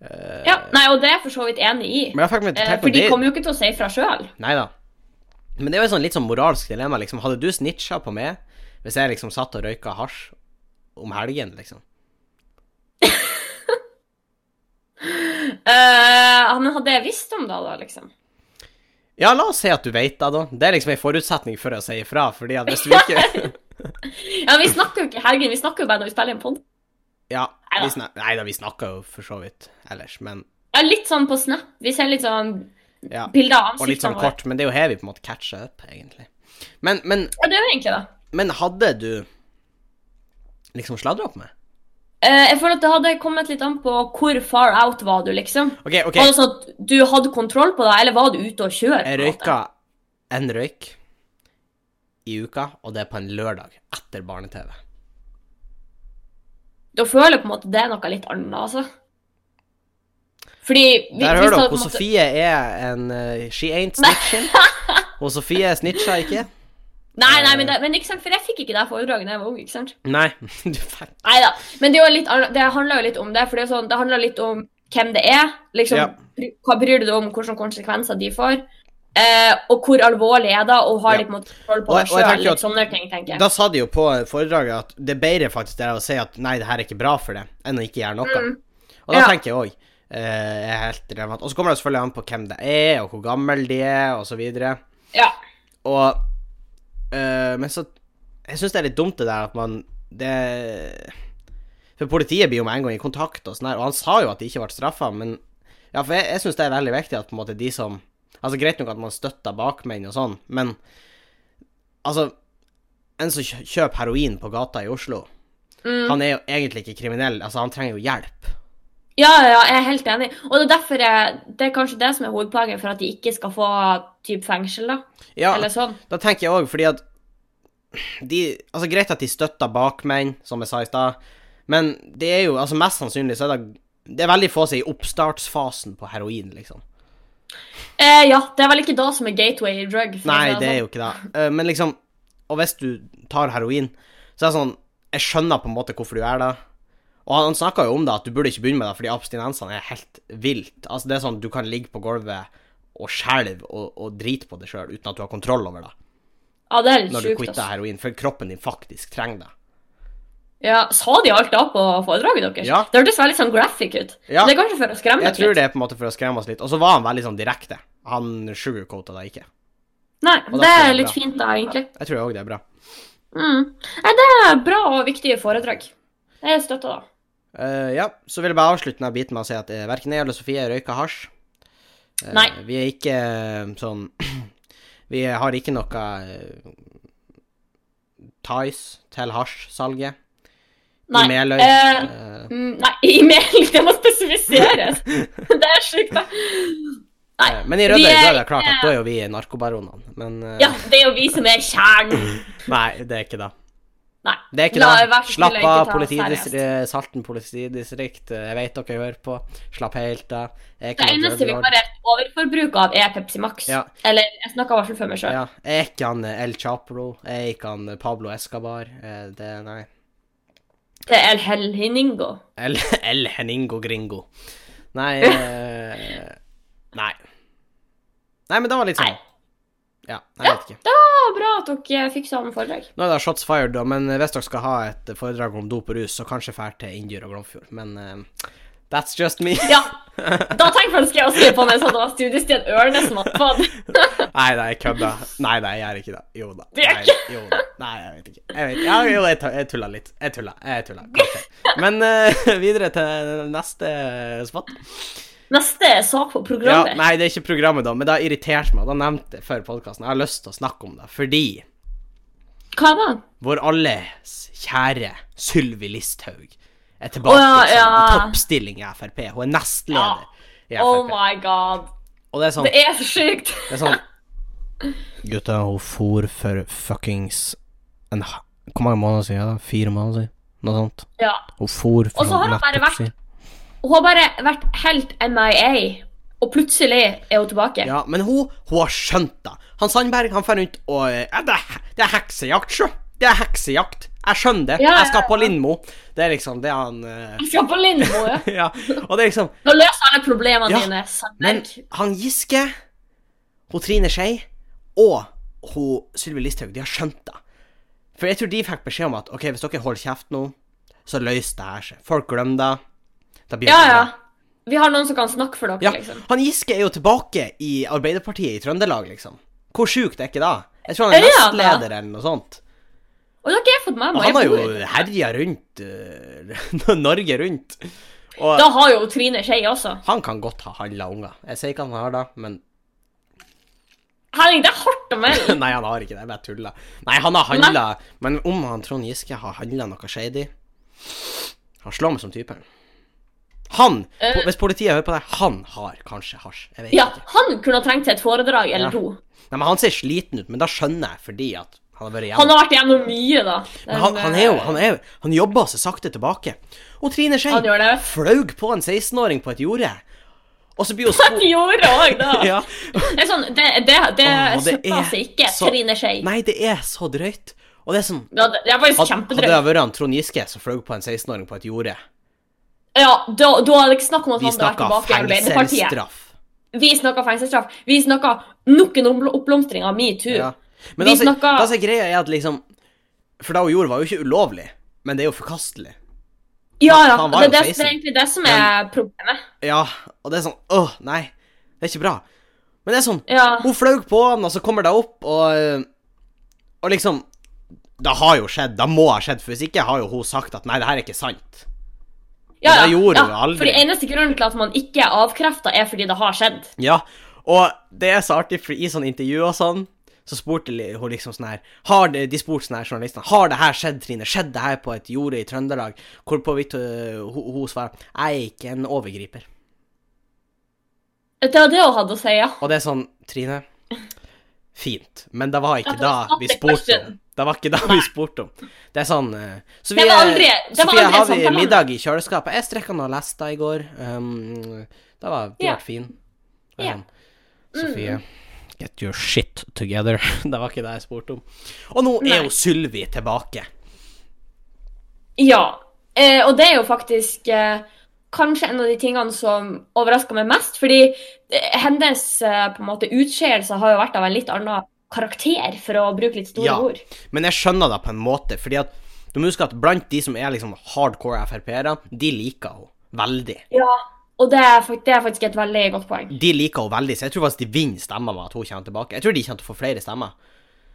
Eh, ja. Nei, og det er jeg for så vidt enig i. Men jeg fikk meg til å Eh, tenke på For de det. kommer jo ikke til å si fra sjøl. Nei da. Men det er jo et sånn litt sånn moralsk dilemma, liksom. Hadde du snitcha på meg hvis jeg liksom satt og røyka hasj om helgen, liksom? men Eh, hadde jeg visst om det, da, liksom? Ja, la oss si at du veit det, da. Det er liksom en forutsetning for å si ifra, fordi at hvis du ikke Ja, Vi snakker jo ikke i helgen, vi snakker jo bare når vi spiller en pod. Ja. Neida. Vi snak... Nei da, vi snakka jo for så vidt ellers, men Ja, litt sånn på Snap. Vi ser litt sånn ja. bilder av Og litt ansiktene sånn våre. kort, men det er jo her vi på en måte catcher opp, egentlig. Men, men, Ja, det er jo egentlig det. men hadde du liksom sladra opp meg? Eh, jeg føler at det hadde kommet litt an på hvor far out var du, liksom. OK, OK, Var det sånn at du hadde kontroll på det, eller var du ute og kjører? på jeg en måte? røyka en røyk i uka, og det er på en lørdag etter barne-TV. Da føler jeg på en måte det er noe litt annet, altså. Fordi vi, Der hører det dere på en hvor måte- Sofie er en eh, She ain't snitching. Og Sofie snitcha ikke. Nei, nei, men, det, men ikke sant, for jeg fikk ikke det foredraget da jeg var ung. ikke sant? Nei, du fikk Nei da. Men det, er jo litt annet, det handler jo litt om det. For det, er jo sånn, det handler litt om hvem det er. liksom, Ja. bry- Hva bryr du deg om, hvilke konsekvenser de får? Eh, og hvor alvorlig er det, og har Ja. de på en måte kontroll på Og- det og jeg tenker sjøl? jo Litt sånne ting, tenker jeg. Da sa de jo på foredraget at det er bedre faktisk det er å si at nei, det her er ikke bra for det, enn å ikke gjøre noe. Og da Mm. Ja. tenker jeg òg eh, er helt relevant. Og så kommer det selvfølgelig an på hvem det er, og hvor gammel de er, og så videre. Ja. Og eh, Men så Jeg syns det er litt dumt det der at man Det For politiet blir jo med en gang i kontakt og sånn her, og han sa jo at de ikke ble straffa, men Ja, for jeg, jeg syns det er veldig viktig at på en måte de som Altså, greit nok at man støtter bakmenn og sånn, men Altså En som kjø- kjøper heroin på gata i Oslo, Mm. han er jo egentlig ikke kriminell. Altså, han trenger jo hjelp. Ja, ja, jeg er helt enig. Og det er derfor jeg, det er kanskje det som er hovedplagen for at de ikke skal få typ fengsel, da. Ja, Eller sånn. Da tenker jeg òg, fordi at de, altså Greit at de støtter bakmenn, som jeg sa i stad, men det er jo altså mest sannsynlig så er det Det er veldig få som er i oppstartsfasen på heroin, liksom. Eh, ja, det er vel ikke da som er gateway drug. for å si Nei, det er sånn. jo ikke det. Eh, Men liksom Og hvis du tar heroin, så er det sånn Jeg skjønner på en måte hvorfor du gjør det. Og han snakka jo om det, at du burde ikke begynne med det fordi abstinensene er helt vilt. Altså, det er sånn du kan ligge på gulvet og skjelve og, og drite på det sjøl uten at du har kontroll over det Ja, det er helt når du sjukt. altså. quitter ass. heroin, for kroppen din faktisk trenger det. Ja, Sa de alt da på foredraget deres? Ja. Det hørtes veldig sånn graphic ut. Ja. Men Det er kanskje for å skremme Jeg dere tror litt. det er på en måte for å skremme oss litt. Og så var han veldig sånn direkte. Han sugarcoata det ikke. Nei, da det tror jeg er det er litt bra. fint, da, egentlig. Jeg tror òg det er bra. Mm. Nei, det er bra og viktige foredrag. Det støtter, da. Eh, ja, så vil jeg bare avslutte denne biten med å si at uh, verken jeg eller Sofie røyker hasj. Eh, Nei. Vi er ikke eh, sånn Vi har ikke noe uh, ties til hasjsalget i Nei. Meløy. eh, Eh, mm, nei, i melding, det må spesifiseres! det er sjukt, da. Nei. eh, men i vi Rødøy er da er det klart ikke- at da er jo vi narkobaronene. Men eh, Ja, det er jo vi som er kjernen. nei, det er ikke det. Nei. Det er ikke La det. verste Slapp løyke av, ta politidistri seriøst. Salten politidistrikt. eh, Jeg vet dere hører på. Slapp helt av. Jeg er Det ikke noe eneste vi drøvelord. har et overforbruk av, er Pepsi Max. Ja. Eller jeg snakka i hvert fall for meg sjøl. Ja, jeg er ikke han eh, El Chapro. Jeg er ikke han eh, Pablo Escabar. eh, Det Nei. Det er El Helhiningo. El, El Heningo Gringo. Nei eh, Nei. Nei, men det var litt sånn. Nei. Ja, jeg vet ikke. Ja, bra at dere fikk sammen foredrag. Nå er det shots fired, da, men eh, hvis dere skal ha et foredrag om dop og rus, så kanskje fær til Indyr og Glomfjord. Men eh, that's just me. Ja. Da tenk for en skrev å skrive på meg sånn at det var studiestjern Ørnes som hadde fått. Nei, nei, jeg kødder. Nei, nei, jeg gjør ikke det. Jo da. Det gjør Nei, jo da. Nei, jeg vet ikke. Jeg vet, ja, jo, jeg tu- jeg tulla litt. Jeg tulla. Jeg tulla. Kanskje. Men eh, videre til neste spot. Neste sak på Ja, programmet. nei, det er ikke programmet, da, men det har irritert meg. Da nevnte jeg før podkasten. Jeg har lyst til å snakke om det fordi Hva da? vår alles kjære Sylvi Listhaug er tilbake Å, ja, liksom, i ja. toppstilling i Frp. Hun er nestleder i Frp. Oh my god. Og det er sånn Det er så sjukt. Det er sånn Gutta, hun for for fuckings en ha- Hvor mange måneder siden? er det? Fire måneder siden? Noe sånt. Ja. Hun for for Og så har hun bare vært- siden. Hun har bare vært helt MIA, og plutselig er hun tilbake. Ja, men hun, hun har skjønt det. Han Sandberg han fant rundt og eh, ja, det, er, det er heksejakt, sjø. Det er heksejakt. Jeg skjønner det. Ja, ja, Jeg skal på Lindmo. Det er liksom det han eh, Jeg skal på Lindmo, ja. Ja. Og det er liksom Nå løser alle problemene Ja, dine. Men Sandberg. han Giske, hun Trine Skei og hun Sylvi Listhaug, de har skjønt det. For jeg tror de fikk beskjed om at ok, hvis dere holder kjeft nå, så løser det her seg. Folk glemmer det. det blir Ja, ikke ja. bra. Vi har noen som kan snakke for dere, Ja, liksom. Han Giske er jo tilbake i Arbeiderpartiet i Trøndelag, liksom. Hvor sjukt er ikke det? Jeg tror han er Er det han, da? nestleder eller noe sånt. Og det har ikke jeg fått med Og meg. han har Jeg jo bor i- herja rundt øh, Norge rundt. Og Da har jo Trine Skei også. han kan godt ha handla unger. Jeg sier ikke han har det, men Henning, det er hardt å melde. Nei, han har ikke det. Jeg bare tuller. Nei, han har handla Men om han Trond Giske har handla noe shady Han slår meg som typen. Han, Eh. po- hvis politiet hører på det, han har kanskje hasj. Jeg vet Ja, ikke. han kunne ha trengt seg et foredrag eller Ja. to. Nei, men Han ser sliten ut, men da skjønner jeg fordi at han har vært Han igjennom. har vært igjennom mye, da. Men han, han er jo, han er jo, han jobber seg sakte tilbake. Og Trine Skei Han gjør det. flaug på en 16-åring på et jorde. Og så blir hun sko... Han gjorde òg, da. Ja. Det er sånn, det, det, det Åh, det støtter er seg Eh, ikke, så- Trine Skei. Nei, det er så drøyt. Og det er sånn Ja, det det er faktisk Hadde det kjempedrøyt. vært han Trond Giske som fløy på en 16-åring på et jorde Ja, da, da er det ikke snakk om at Vi han hadde vært snakka tilbake sånn, i Arbeiderpartiet. fengselsstraff. Vi snakka fengselsstraff. Vi snakka nok en oppbl- oppblomstring av metoo. Ja. Men Vi altså, snakka- altså, greia er at liksom For det hun gjorde, var jo ikke ulovlig, men det er jo forkastelig. Ja, ja. Han var Det, jo er 16. det, det er egentlig det som er problemet. Ja, og det er sånn Åh, nei. Det er ikke bra. Men det er sånn Ja. Hun fløy på han, og så kommer det opp, og Og liksom Det har jo skjedd. Det må ha skjedd, for hvis ikke har jo hun sagt at nei, det her er ikke sant. Ja, det ja, gjorde ja. hun aldri. Fordi eneste grunnen til at man ikke er avkrefta, er fordi det har skjedd. Ja, og det er så artig, for i sånn intervju og sånn, så spurte li- hun liksom sånn her har det, De spurte sånn her journalistene Har det her skjedd, Trine? Skjedde det her på et jorde i Trøndelag? Hvorpå vi, øh, hun, hun svarer Jeg er ikke en overgriper. Det var det hun hadde å si, ja. Og det er sånn Trine, fint, men det var ikke Ja, det var da vi static spurte om. question. Det var ikke da vi spurte om. Det er sånn øh, så Det vi, var øh, aldri- det var Sofie, aldri har en vi samtale. middag i kjøleskapet? Jeg strekka noe lesta i går. Um, det var, de Ja. ble fine. Ja. Mm. Um, Sofie, Get your shit together. Det var ikke det jeg spurte om. Og nå Nei. er jo Sylvi tilbake. Ja. Eh, og det er jo faktisk eh, kanskje en av de tingene som overraska meg mest. Fordi eh, hennes eh, på en måte utskeielse har jo vært av en litt annen karakter, for å bruke litt store Ja. ord. Men jeg skjønner det på en måte, fordi at du må huske at blant de som er liksom hardcore Frp-ere, de liker henne veldig. Ja. Og det er, fak- det er faktisk et veldig godt poeng. De liker henne veldig, så jeg tror faktisk de vinner stemmer med at hun kommer tilbake. Jeg tror de kommer til å få flere stemmer.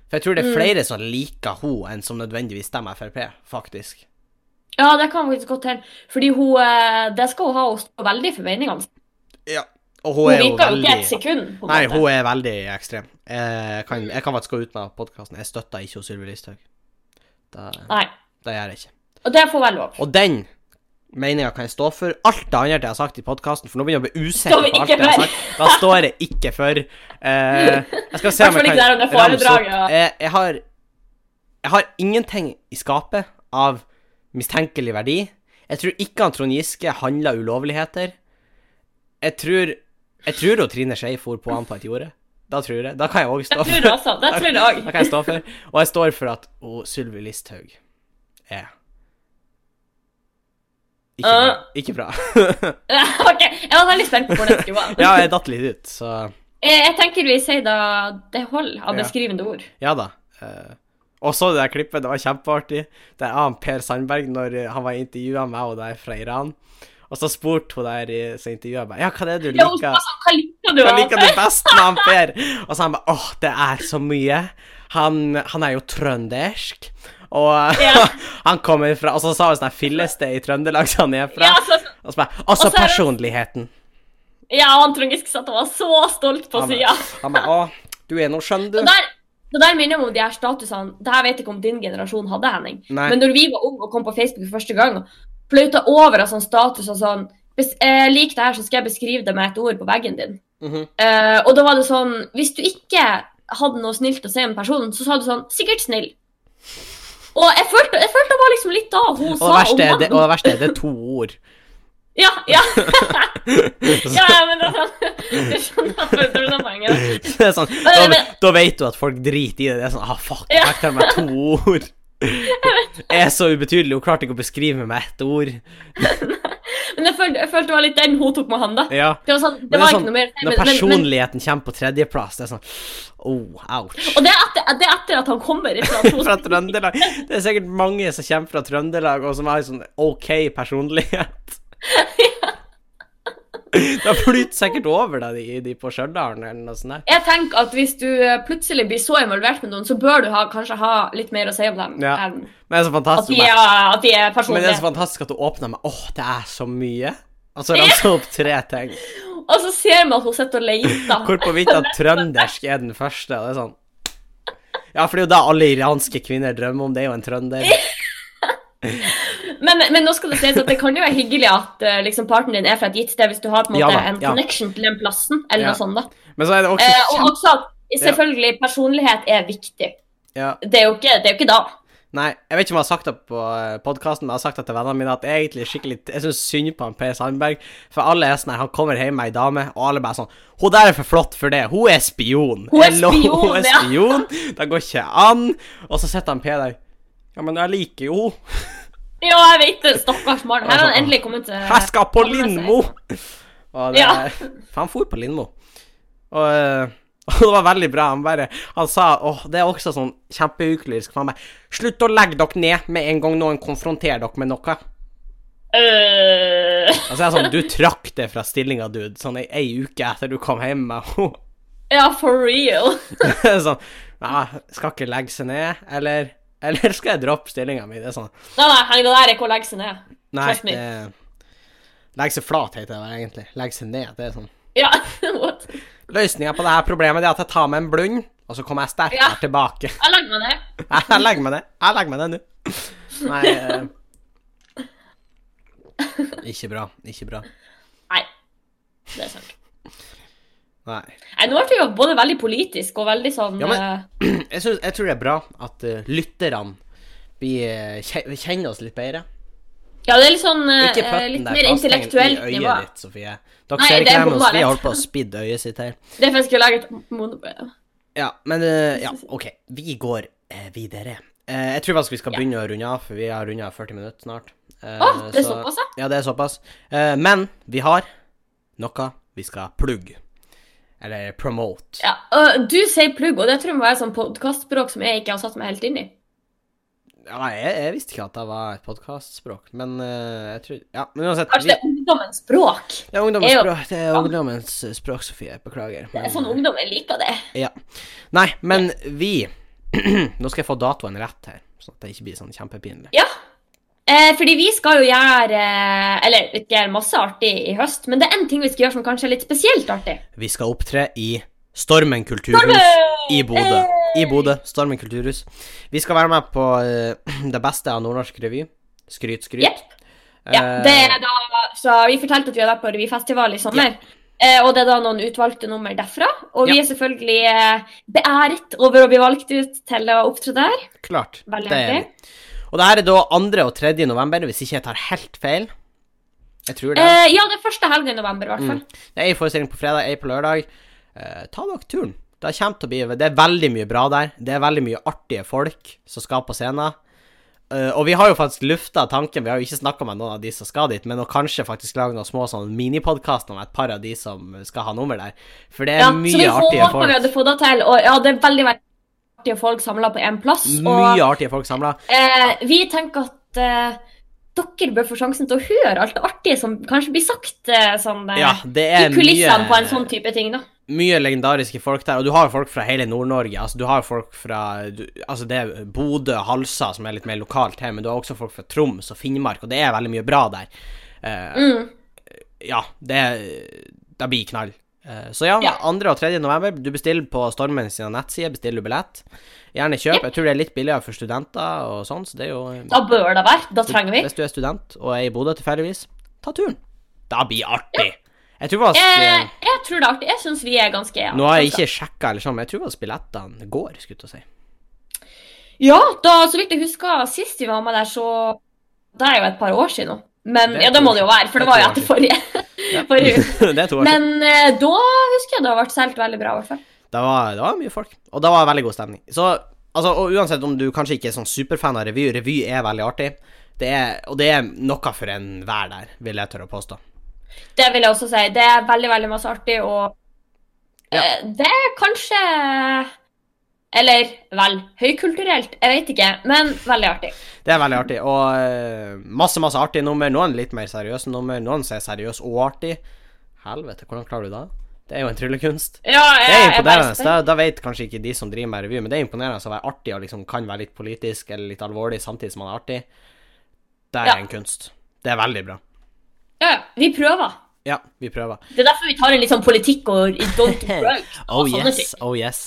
For jeg tror det Mm. er flere som liker henne enn som nødvendigvis stemmer Frp, faktisk. Ja, det kan faktisk godt hende. Fordi hun eh, Det skal hun ha hun står veldig for meningene sine. Ja. Og Hun hun er jo virker jo ikke et veldig sekund. på en Nei, måte. hun er veldig ekstrem. Jeg kan, jeg kan faktisk gå ut av podkasten. Jeg støtter ikke hun Sylvi Listhaug. Det, Nei. det gjør jeg ikke. Og det får være lov. Og den meninga kan jeg stå for. Alt det andre jeg har sagt i podkasten, for nå begynner jeg å bli Står usikker vi på alt ikke jeg har for? sagt. Da står jeg ikke for. Eh, jeg skal se om Hvertfall jeg ikke der kan under ramse opp. foredraget, ja. Eh, jeg, har, jeg har ingenting i skapet av mistenkelig verdi. Jeg tror ikke han Trond Giske handla ulovligheter. Jeg tror Jeg tror hun Trine Skei for på han på et jorde. Da tror jeg. Da kan jeg òg Det stå tror jeg for. også. Det tror jeg Da kan jeg òg. stå for. Og jeg står for at hun Sylvi Listhaug er ikke bra. Ah. Ikke bra. Ok, Jeg var veldig spent på hvor det skulle gå. ja, jeg datt litt ut, så Eh, Jeg, jeg tenker vi sier da det holder av Ja. beskrivende ord. ja da. Eh, og så det der klippet, det var kjempeartig. Det er av Per Sandberg når eh, han var intervjua meg og der fra Iran. Og så spurte hun der i- som intervjua meg, ja, hva er det du Ja, hun liker? sa sånn, hva liker du? Hva Alf?» liker du best med han Per? Og så han bare åh, det er så mye. Han, han er jo trøndersk. Og Ja. han kommer fra Og så sa hun sånn her fillested i Trøndelag som han er fra. Ja, altså, så, Og så bare Og så Og så er det- personligheten. ja, og han Trond Giske satt og var så stolt på Han sida. bare, han bare åh, du er nå skjønn, du. Det der, det der minner meg om de her statusene. Det her vet jeg ikke om din generasjon hadde, Henning. Nei. Men når vi var unge og kom på Facebook for første gang, flauta over av sånn status og sånn hvis jeg liker det her, så skal jeg beskrive det med et ord på veggen din. Mhm. Eh, og da var det sånn Hvis du ikke hadde noe snilt å si om personen, så sa du sånn Sikkert snill. Og jeg følte, jeg følte det var liksom litt da hun Og sa det verste er om det, og det, verste er det er to ord. Ja, ja. ja, ja, men det er sånn Du skjønner du skjønner poenget. Det er sånn, da, Men- men- da vet du at folk driter i det. Det er sånn ah, fuck, jeg Ja. fikk til meg to ord. Jeg er så ubetydelig, hun klarte ikke å beskrive meg med ett ord. Men jeg følte, jeg følte det var litt den hun tok med han, da. Ja. Det var, sånn, det Men var sånn, ikke noe mer. Når Men, men, men, personligheten kommer på tredjeplass, det er sånn Oh, ouch. og det er, etter, det er etter at han kommer ifra to Fra Trøndelag. Det er sikkert mange som kommer fra Trøndelag, og som har en sånn OK personlighet. Da flyter sikkert over da, de, de på Stjørdal eller noe sånt. der. Jeg tenker at hvis du eh, plutselig blir så involvert med noen, så bør du ha, kanskje ha litt mer å si om dem Ja. enn Men det er så at de fantastisk, er, sånn, at de men det er er personlige. så fantastisk at du åpner med Åh, det er så mye. Og så ramser hun opp tre ting. Og så ser man at hun sitter og leter. Hvorpå vidt at trøndersk er den første. og Det er sånn Ja, for det er jo det alle iranske kvinner drømmer om. Det er jo en trønder. Men, men nå skal det sies at det kan jo være hyggelig at eh, liksom, parten din er fra et gitt sted, hvis du har på en Ja måte da, en ja. connection til den plassen, eller Ja. noe sånt. da. Men så er det også Eh, Altså, kjempe... og også at selvfølgelig personlighet er viktig. Ja. Det er jo ikke, det er jo ikke da. Nei, jeg vet ikke om jeg har sagt det på podkasten, men jeg har sagt det til vennene mine at jeg er egentlig skikkelig Jeg syns synd på han Per Sandberg, for alle er sånn her Han kommer hjem med ei dame, og alle bare sånn Hun der er for flott for det. Hun er spion. Hun er Jeg lo- spion, hun er ja. spion. Det går ikke an. Og så sitter han Per der. Ja, men jeg liker jo henne. Ja, jeg vet det. Stakkars mann. Her har han endelig kommet til Jeg skal på kommet seg. Lindmo! Og det, Ja. For han for på Lindmo. Og, eh, og det var veldig bra. Han bare Han sa åh, det er også sånn kjempeuklyrisk. for Han bare Slutt å legge dere ned med en gang noen konfronterer dere med noe. Øh, Altså, jeg er sånn, Du trakk det fra stillinga, dude, sånn ei, ei uke etter du kom hjem med henne. ja, for real. sånn Nei, skal ikke legge seg ned, eller Eller skal jeg droppe stillinga mi? Det er sånn Nei, nei, Henning, det der er hvor lenge siden det er. Nei, Trust me. det Legge seg flat, heter det vel egentlig. Legge seg ned. Det er sånn Ja, what? Løsninga på det her problemet det er at jeg tar meg en blund, og så kommer jeg sterkere Ja. tilbake. Jeg Jeg legger legger meg ned. meg ned. Jeg legger meg ned nå. Nei eh. Ikke bra. Ikke bra. Nei, det er sant. Nei. Nei, nå ble vi jo både veldig politisk og veldig sånn Ja, men- eh, Jeg, synes, jeg tror det er bra at eh, lytterne blir, eh, kje- kjenner oss litt bedre. Ja, det er litt sånn eh, Ikke eh, pøtten litt der, mer kast den intellektuelt i nivå. øyet ditt, Sofie. Dere Nei, ser det ikke er det, men bomma Sofie rett. holdt på å spidde øyet sitt her. Det er for jeg skulle lage et monobrød. Ja, men eh, ja, OK. Vi går eh, videre. Eh, jeg tror faktisk vi skal Ja. begynne å runde av, for vi har runda 40 minutter snart. Eh, Å, det er så- såpass, ja. Ja, det er såpass. Eh, men vi har noe vi skal plugge. Eller promote. ja. og du sier plugg, og det tror jeg må være sånn podkastspråk som jeg ikke har satt meg helt inn i. Ja, jeg, jeg visste ikke at det var et podkastspråk, men eh, jeg tror Ja, men uansett. vi- Kanskje det er ungdommens språk? Det er ungdommens er jo- språk, det er ungdommens eh, språk, Sofie. Beklager. Det men- er sånn ungdom jeg liker det. Ja. Nei, men vi Nå skal jeg få datoen rett her, sånn at det ikke blir sånn kjempepinlig. Ja. Eh, fordi vi skal jo gjøre eh, Eller ikke gjøre masse artig i høst, men det er én ting vi skal gjøre som kanskje er litt spesielt artig. Vi skal opptre i Stormen kulturhus Stormen! i Bodø. Hey! I Bodø. Stormen kulturhus. Vi skal være med på eh, det beste av nordnorsk revy. Skryt, skryt. Jepp. Ja, Eh, det er da, så Vi fortalte at vi har vært på revyfestival i sommer. Eh, og det er da noen utvalgte nummer derfra. Og vi Ja. er selvfølgelig eh, beæret over å bli valgt ut til å opptre der. Klart. Veldig Det er artig. vi. Og det her er da 2. og 3. november, hvis ikke jeg tar helt feil. Jeg tror det. Eh, ja, det er første helgen i november, i hvert fall. Mm. Det er en forestilling på fredag, en på lørdag. Eh, ta dere turen. Det kommer til å bli Det er veldig mye bra der. Det er veldig mye artige folk som skal på scenen. Eh, og vi har jo faktisk lufta tanken, vi har jo ikke snakka med noen av de som skal dit, men å kanskje faktisk lage noen små sånn minipodkaster med et par av de som skal ha nummer der. For det er Ja, så vi mye artige håper vi folk. hadde fått det til. Og ja, det er veldig veldig artige folk samla på én plass. Mye artige folk samla. Og eh, vi tenker at eh, dere bør få sjansen til å høre alt det artige som kanskje blir sagt eh, sånn eh, Ja, det i er kulissene på en mye sånn type ting, da. mye legendariske folk der, og du har jo folk fra hele Nord-Norge. Altså, du har jo folk fra du, Altså, det er Bodø, Halsa, som er litt mer lokalt her, men du har også folk fra Troms og Finnmark, og det er veldig mye bra der. Eh, Mm. ja, det Det blir knall. Eh, så ja, Ja. 2. og 3. november, du bestiller på Stormen sine nettsider, bestiller du billett. Gjerne kjøp. Jep. Jeg tror det er litt billigere for studenter og sånn, så det er jo Da bør det være. Da trenger vi. Hvis du er student og er i Bodø tilfeldigvis, ta turen. Da blir artig. Jeg tror faktisk eh, Jeg, jeg tror det er artig. Jeg syns vi er ganske ja, Nå har jeg ikke sjekka, eller sånn, men jeg tror at billettene går. skulle jeg til å si. Ja, da, så vidt jeg husker sist vi var med der, så Det er jo et par år siden nå. Men Det er ja, det to må år det jo være, for det Det er var jo to år etter forrige. Ja. forrige uke. det er to år siden. Men eh, da husker jeg det har vært solgt veldig bra, i hvert fall. Det var, det var mye folk, og det var veldig god stemning. Så, altså, og Uansett om du kanskje ikke er sånn superfan av revy, revy er veldig artig. Det er, og det er noe for enhver der, vil jeg tørre å påstå. Det vil jeg også si. Det er veldig, veldig masse artig, og Ja. eh, det er kanskje Eller vel, høykulturelt. Jeg vet ikke, men veldig artig. Det er veldig artig, og eh, masse masse artige nummer. Noen litt mer seriøse nummer, noen som er seriøse og artig. Helvete, hvordan klarer du det? Det er jo en tryllekunst. Ja, jeg, Det er Eh, jeg bare imponerende. spør. Da, da vet kanskje ikke de som driver med revy, men det er imponerende å være artig og liksom kan være litt politisk eller litt alvorlig samtidig som man er artig. Det er Ja. en kunst. Det er veldig bra. Ja, ja, vi prøver. Ja, vi prøver. Det er derfor vi tar en litt sånn politikk og don't drugs. og Oh sånne ting. yes, oh yes.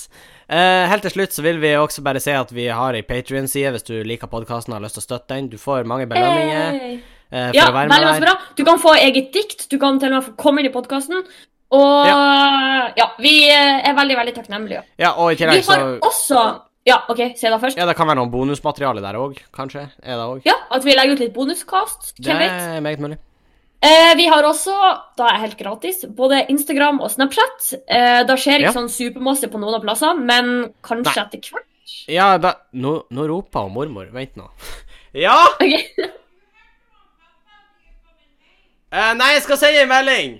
Eh, helt til slutt så vil vi også bare si at vi har ei Patrion-side hvis du liker podkasten og har lyst til å støtte den. Du får mange belønninger Hey. eh, for Ja, å være veldig med masse der. bra. Du kan få eget dikt, du kan til og med få komme inn i podkasten. Og ja. vi eh, er veldig, veldig takknemlige. Ja, og i Vi tillegg så har også Ja, OK, se da først. Ja, det kan være noe bonusmateriale der òg, kanskje. Er det òg? Ja, at vi legger ut litt bonuskast. Det Hvem vet? er meget mulig. Eh, vi har også, da er helt gratis, både Instagram og Snapchat. Eh, da skjer Ja. ikke sånn supermasse på noen av plassene, men kanskje etter hvert. Ja, da Nå, nå roper hun mormor. Vent nå. Ja! Ok. Eh, nei, jeg skal sende en melding.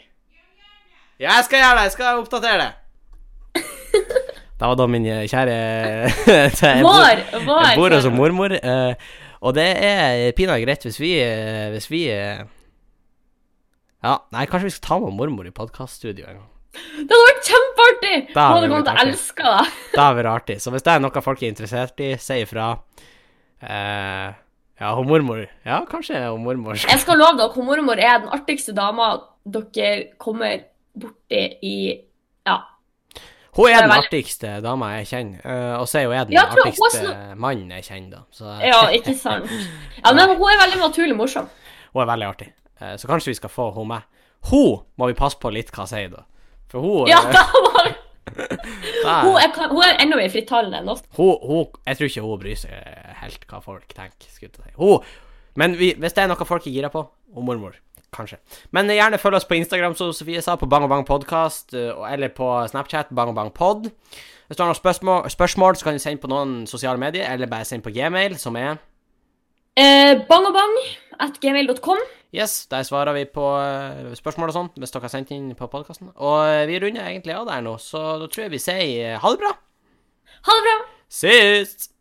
Ja, jeg skal gjøre det. Jeg skal oppdatere det. det var da min eh, kjære Jeg bor- Vår! vår Jeg bor hos mormor, eh, og det er pinadø greit hvis vi eh, Hvis vi eh, Ja, nei, kanskje vi skal ta med mormor i podkaststudio en gang. Det hadde vært kjempeartig! Da hadde Hun det hadde kommet blitt til å artig. elske det. Det hadde vært artig. Så hvis det er noe folk er interessert i, si ifra. Eh, ja, hun mormor Ja, kanskje hun mormor skal Jeg skal love dere, hun mormor er den artigste dama dere kommer borti i Ja. Hun er Det er den veldig- artigste dama jeg kjenner, eh, og så er hun er den Ja, jeg tror hun er artigste mannen jeg kjenner, da. Så eh, ja, ikke sant? Ja, men hun er veldig naturlig morsom. hun er veldig artig. Eh, så kanskje vi skal få hun med. Hun må vi passe på litt hva hun sier, da. For hun Ja, eh, da var da- Hun er, kan- hun er enda mer frittalende enn oss. hun, hun, jeg tror ikke hun bryr seg helt hva folk tenker. skulle jeg til å si. Hun, Men vi, hvis det er noe folk er gira på, og mormor, kanskje. Men eh, gjerne følg oss på Instagram, som Sofie sa, på Bang Bang Podcast, eh, og- eller på Snapchat, Bang Bang Pod. Hvis du har noen spørsmål, spørsmål, så kan du sende på noen sosiale medier, eller bare sende på gmail, som er Eh, bangobang at gmail.com. Yes, der svarer vi på eh, spørsmål og sånn, hvis dere har sendt inn på podkasten. Og eh, vi runder egentlig av der nå, så da tror jeg vi sier eh, ha det bra. Ha det bra! Ses!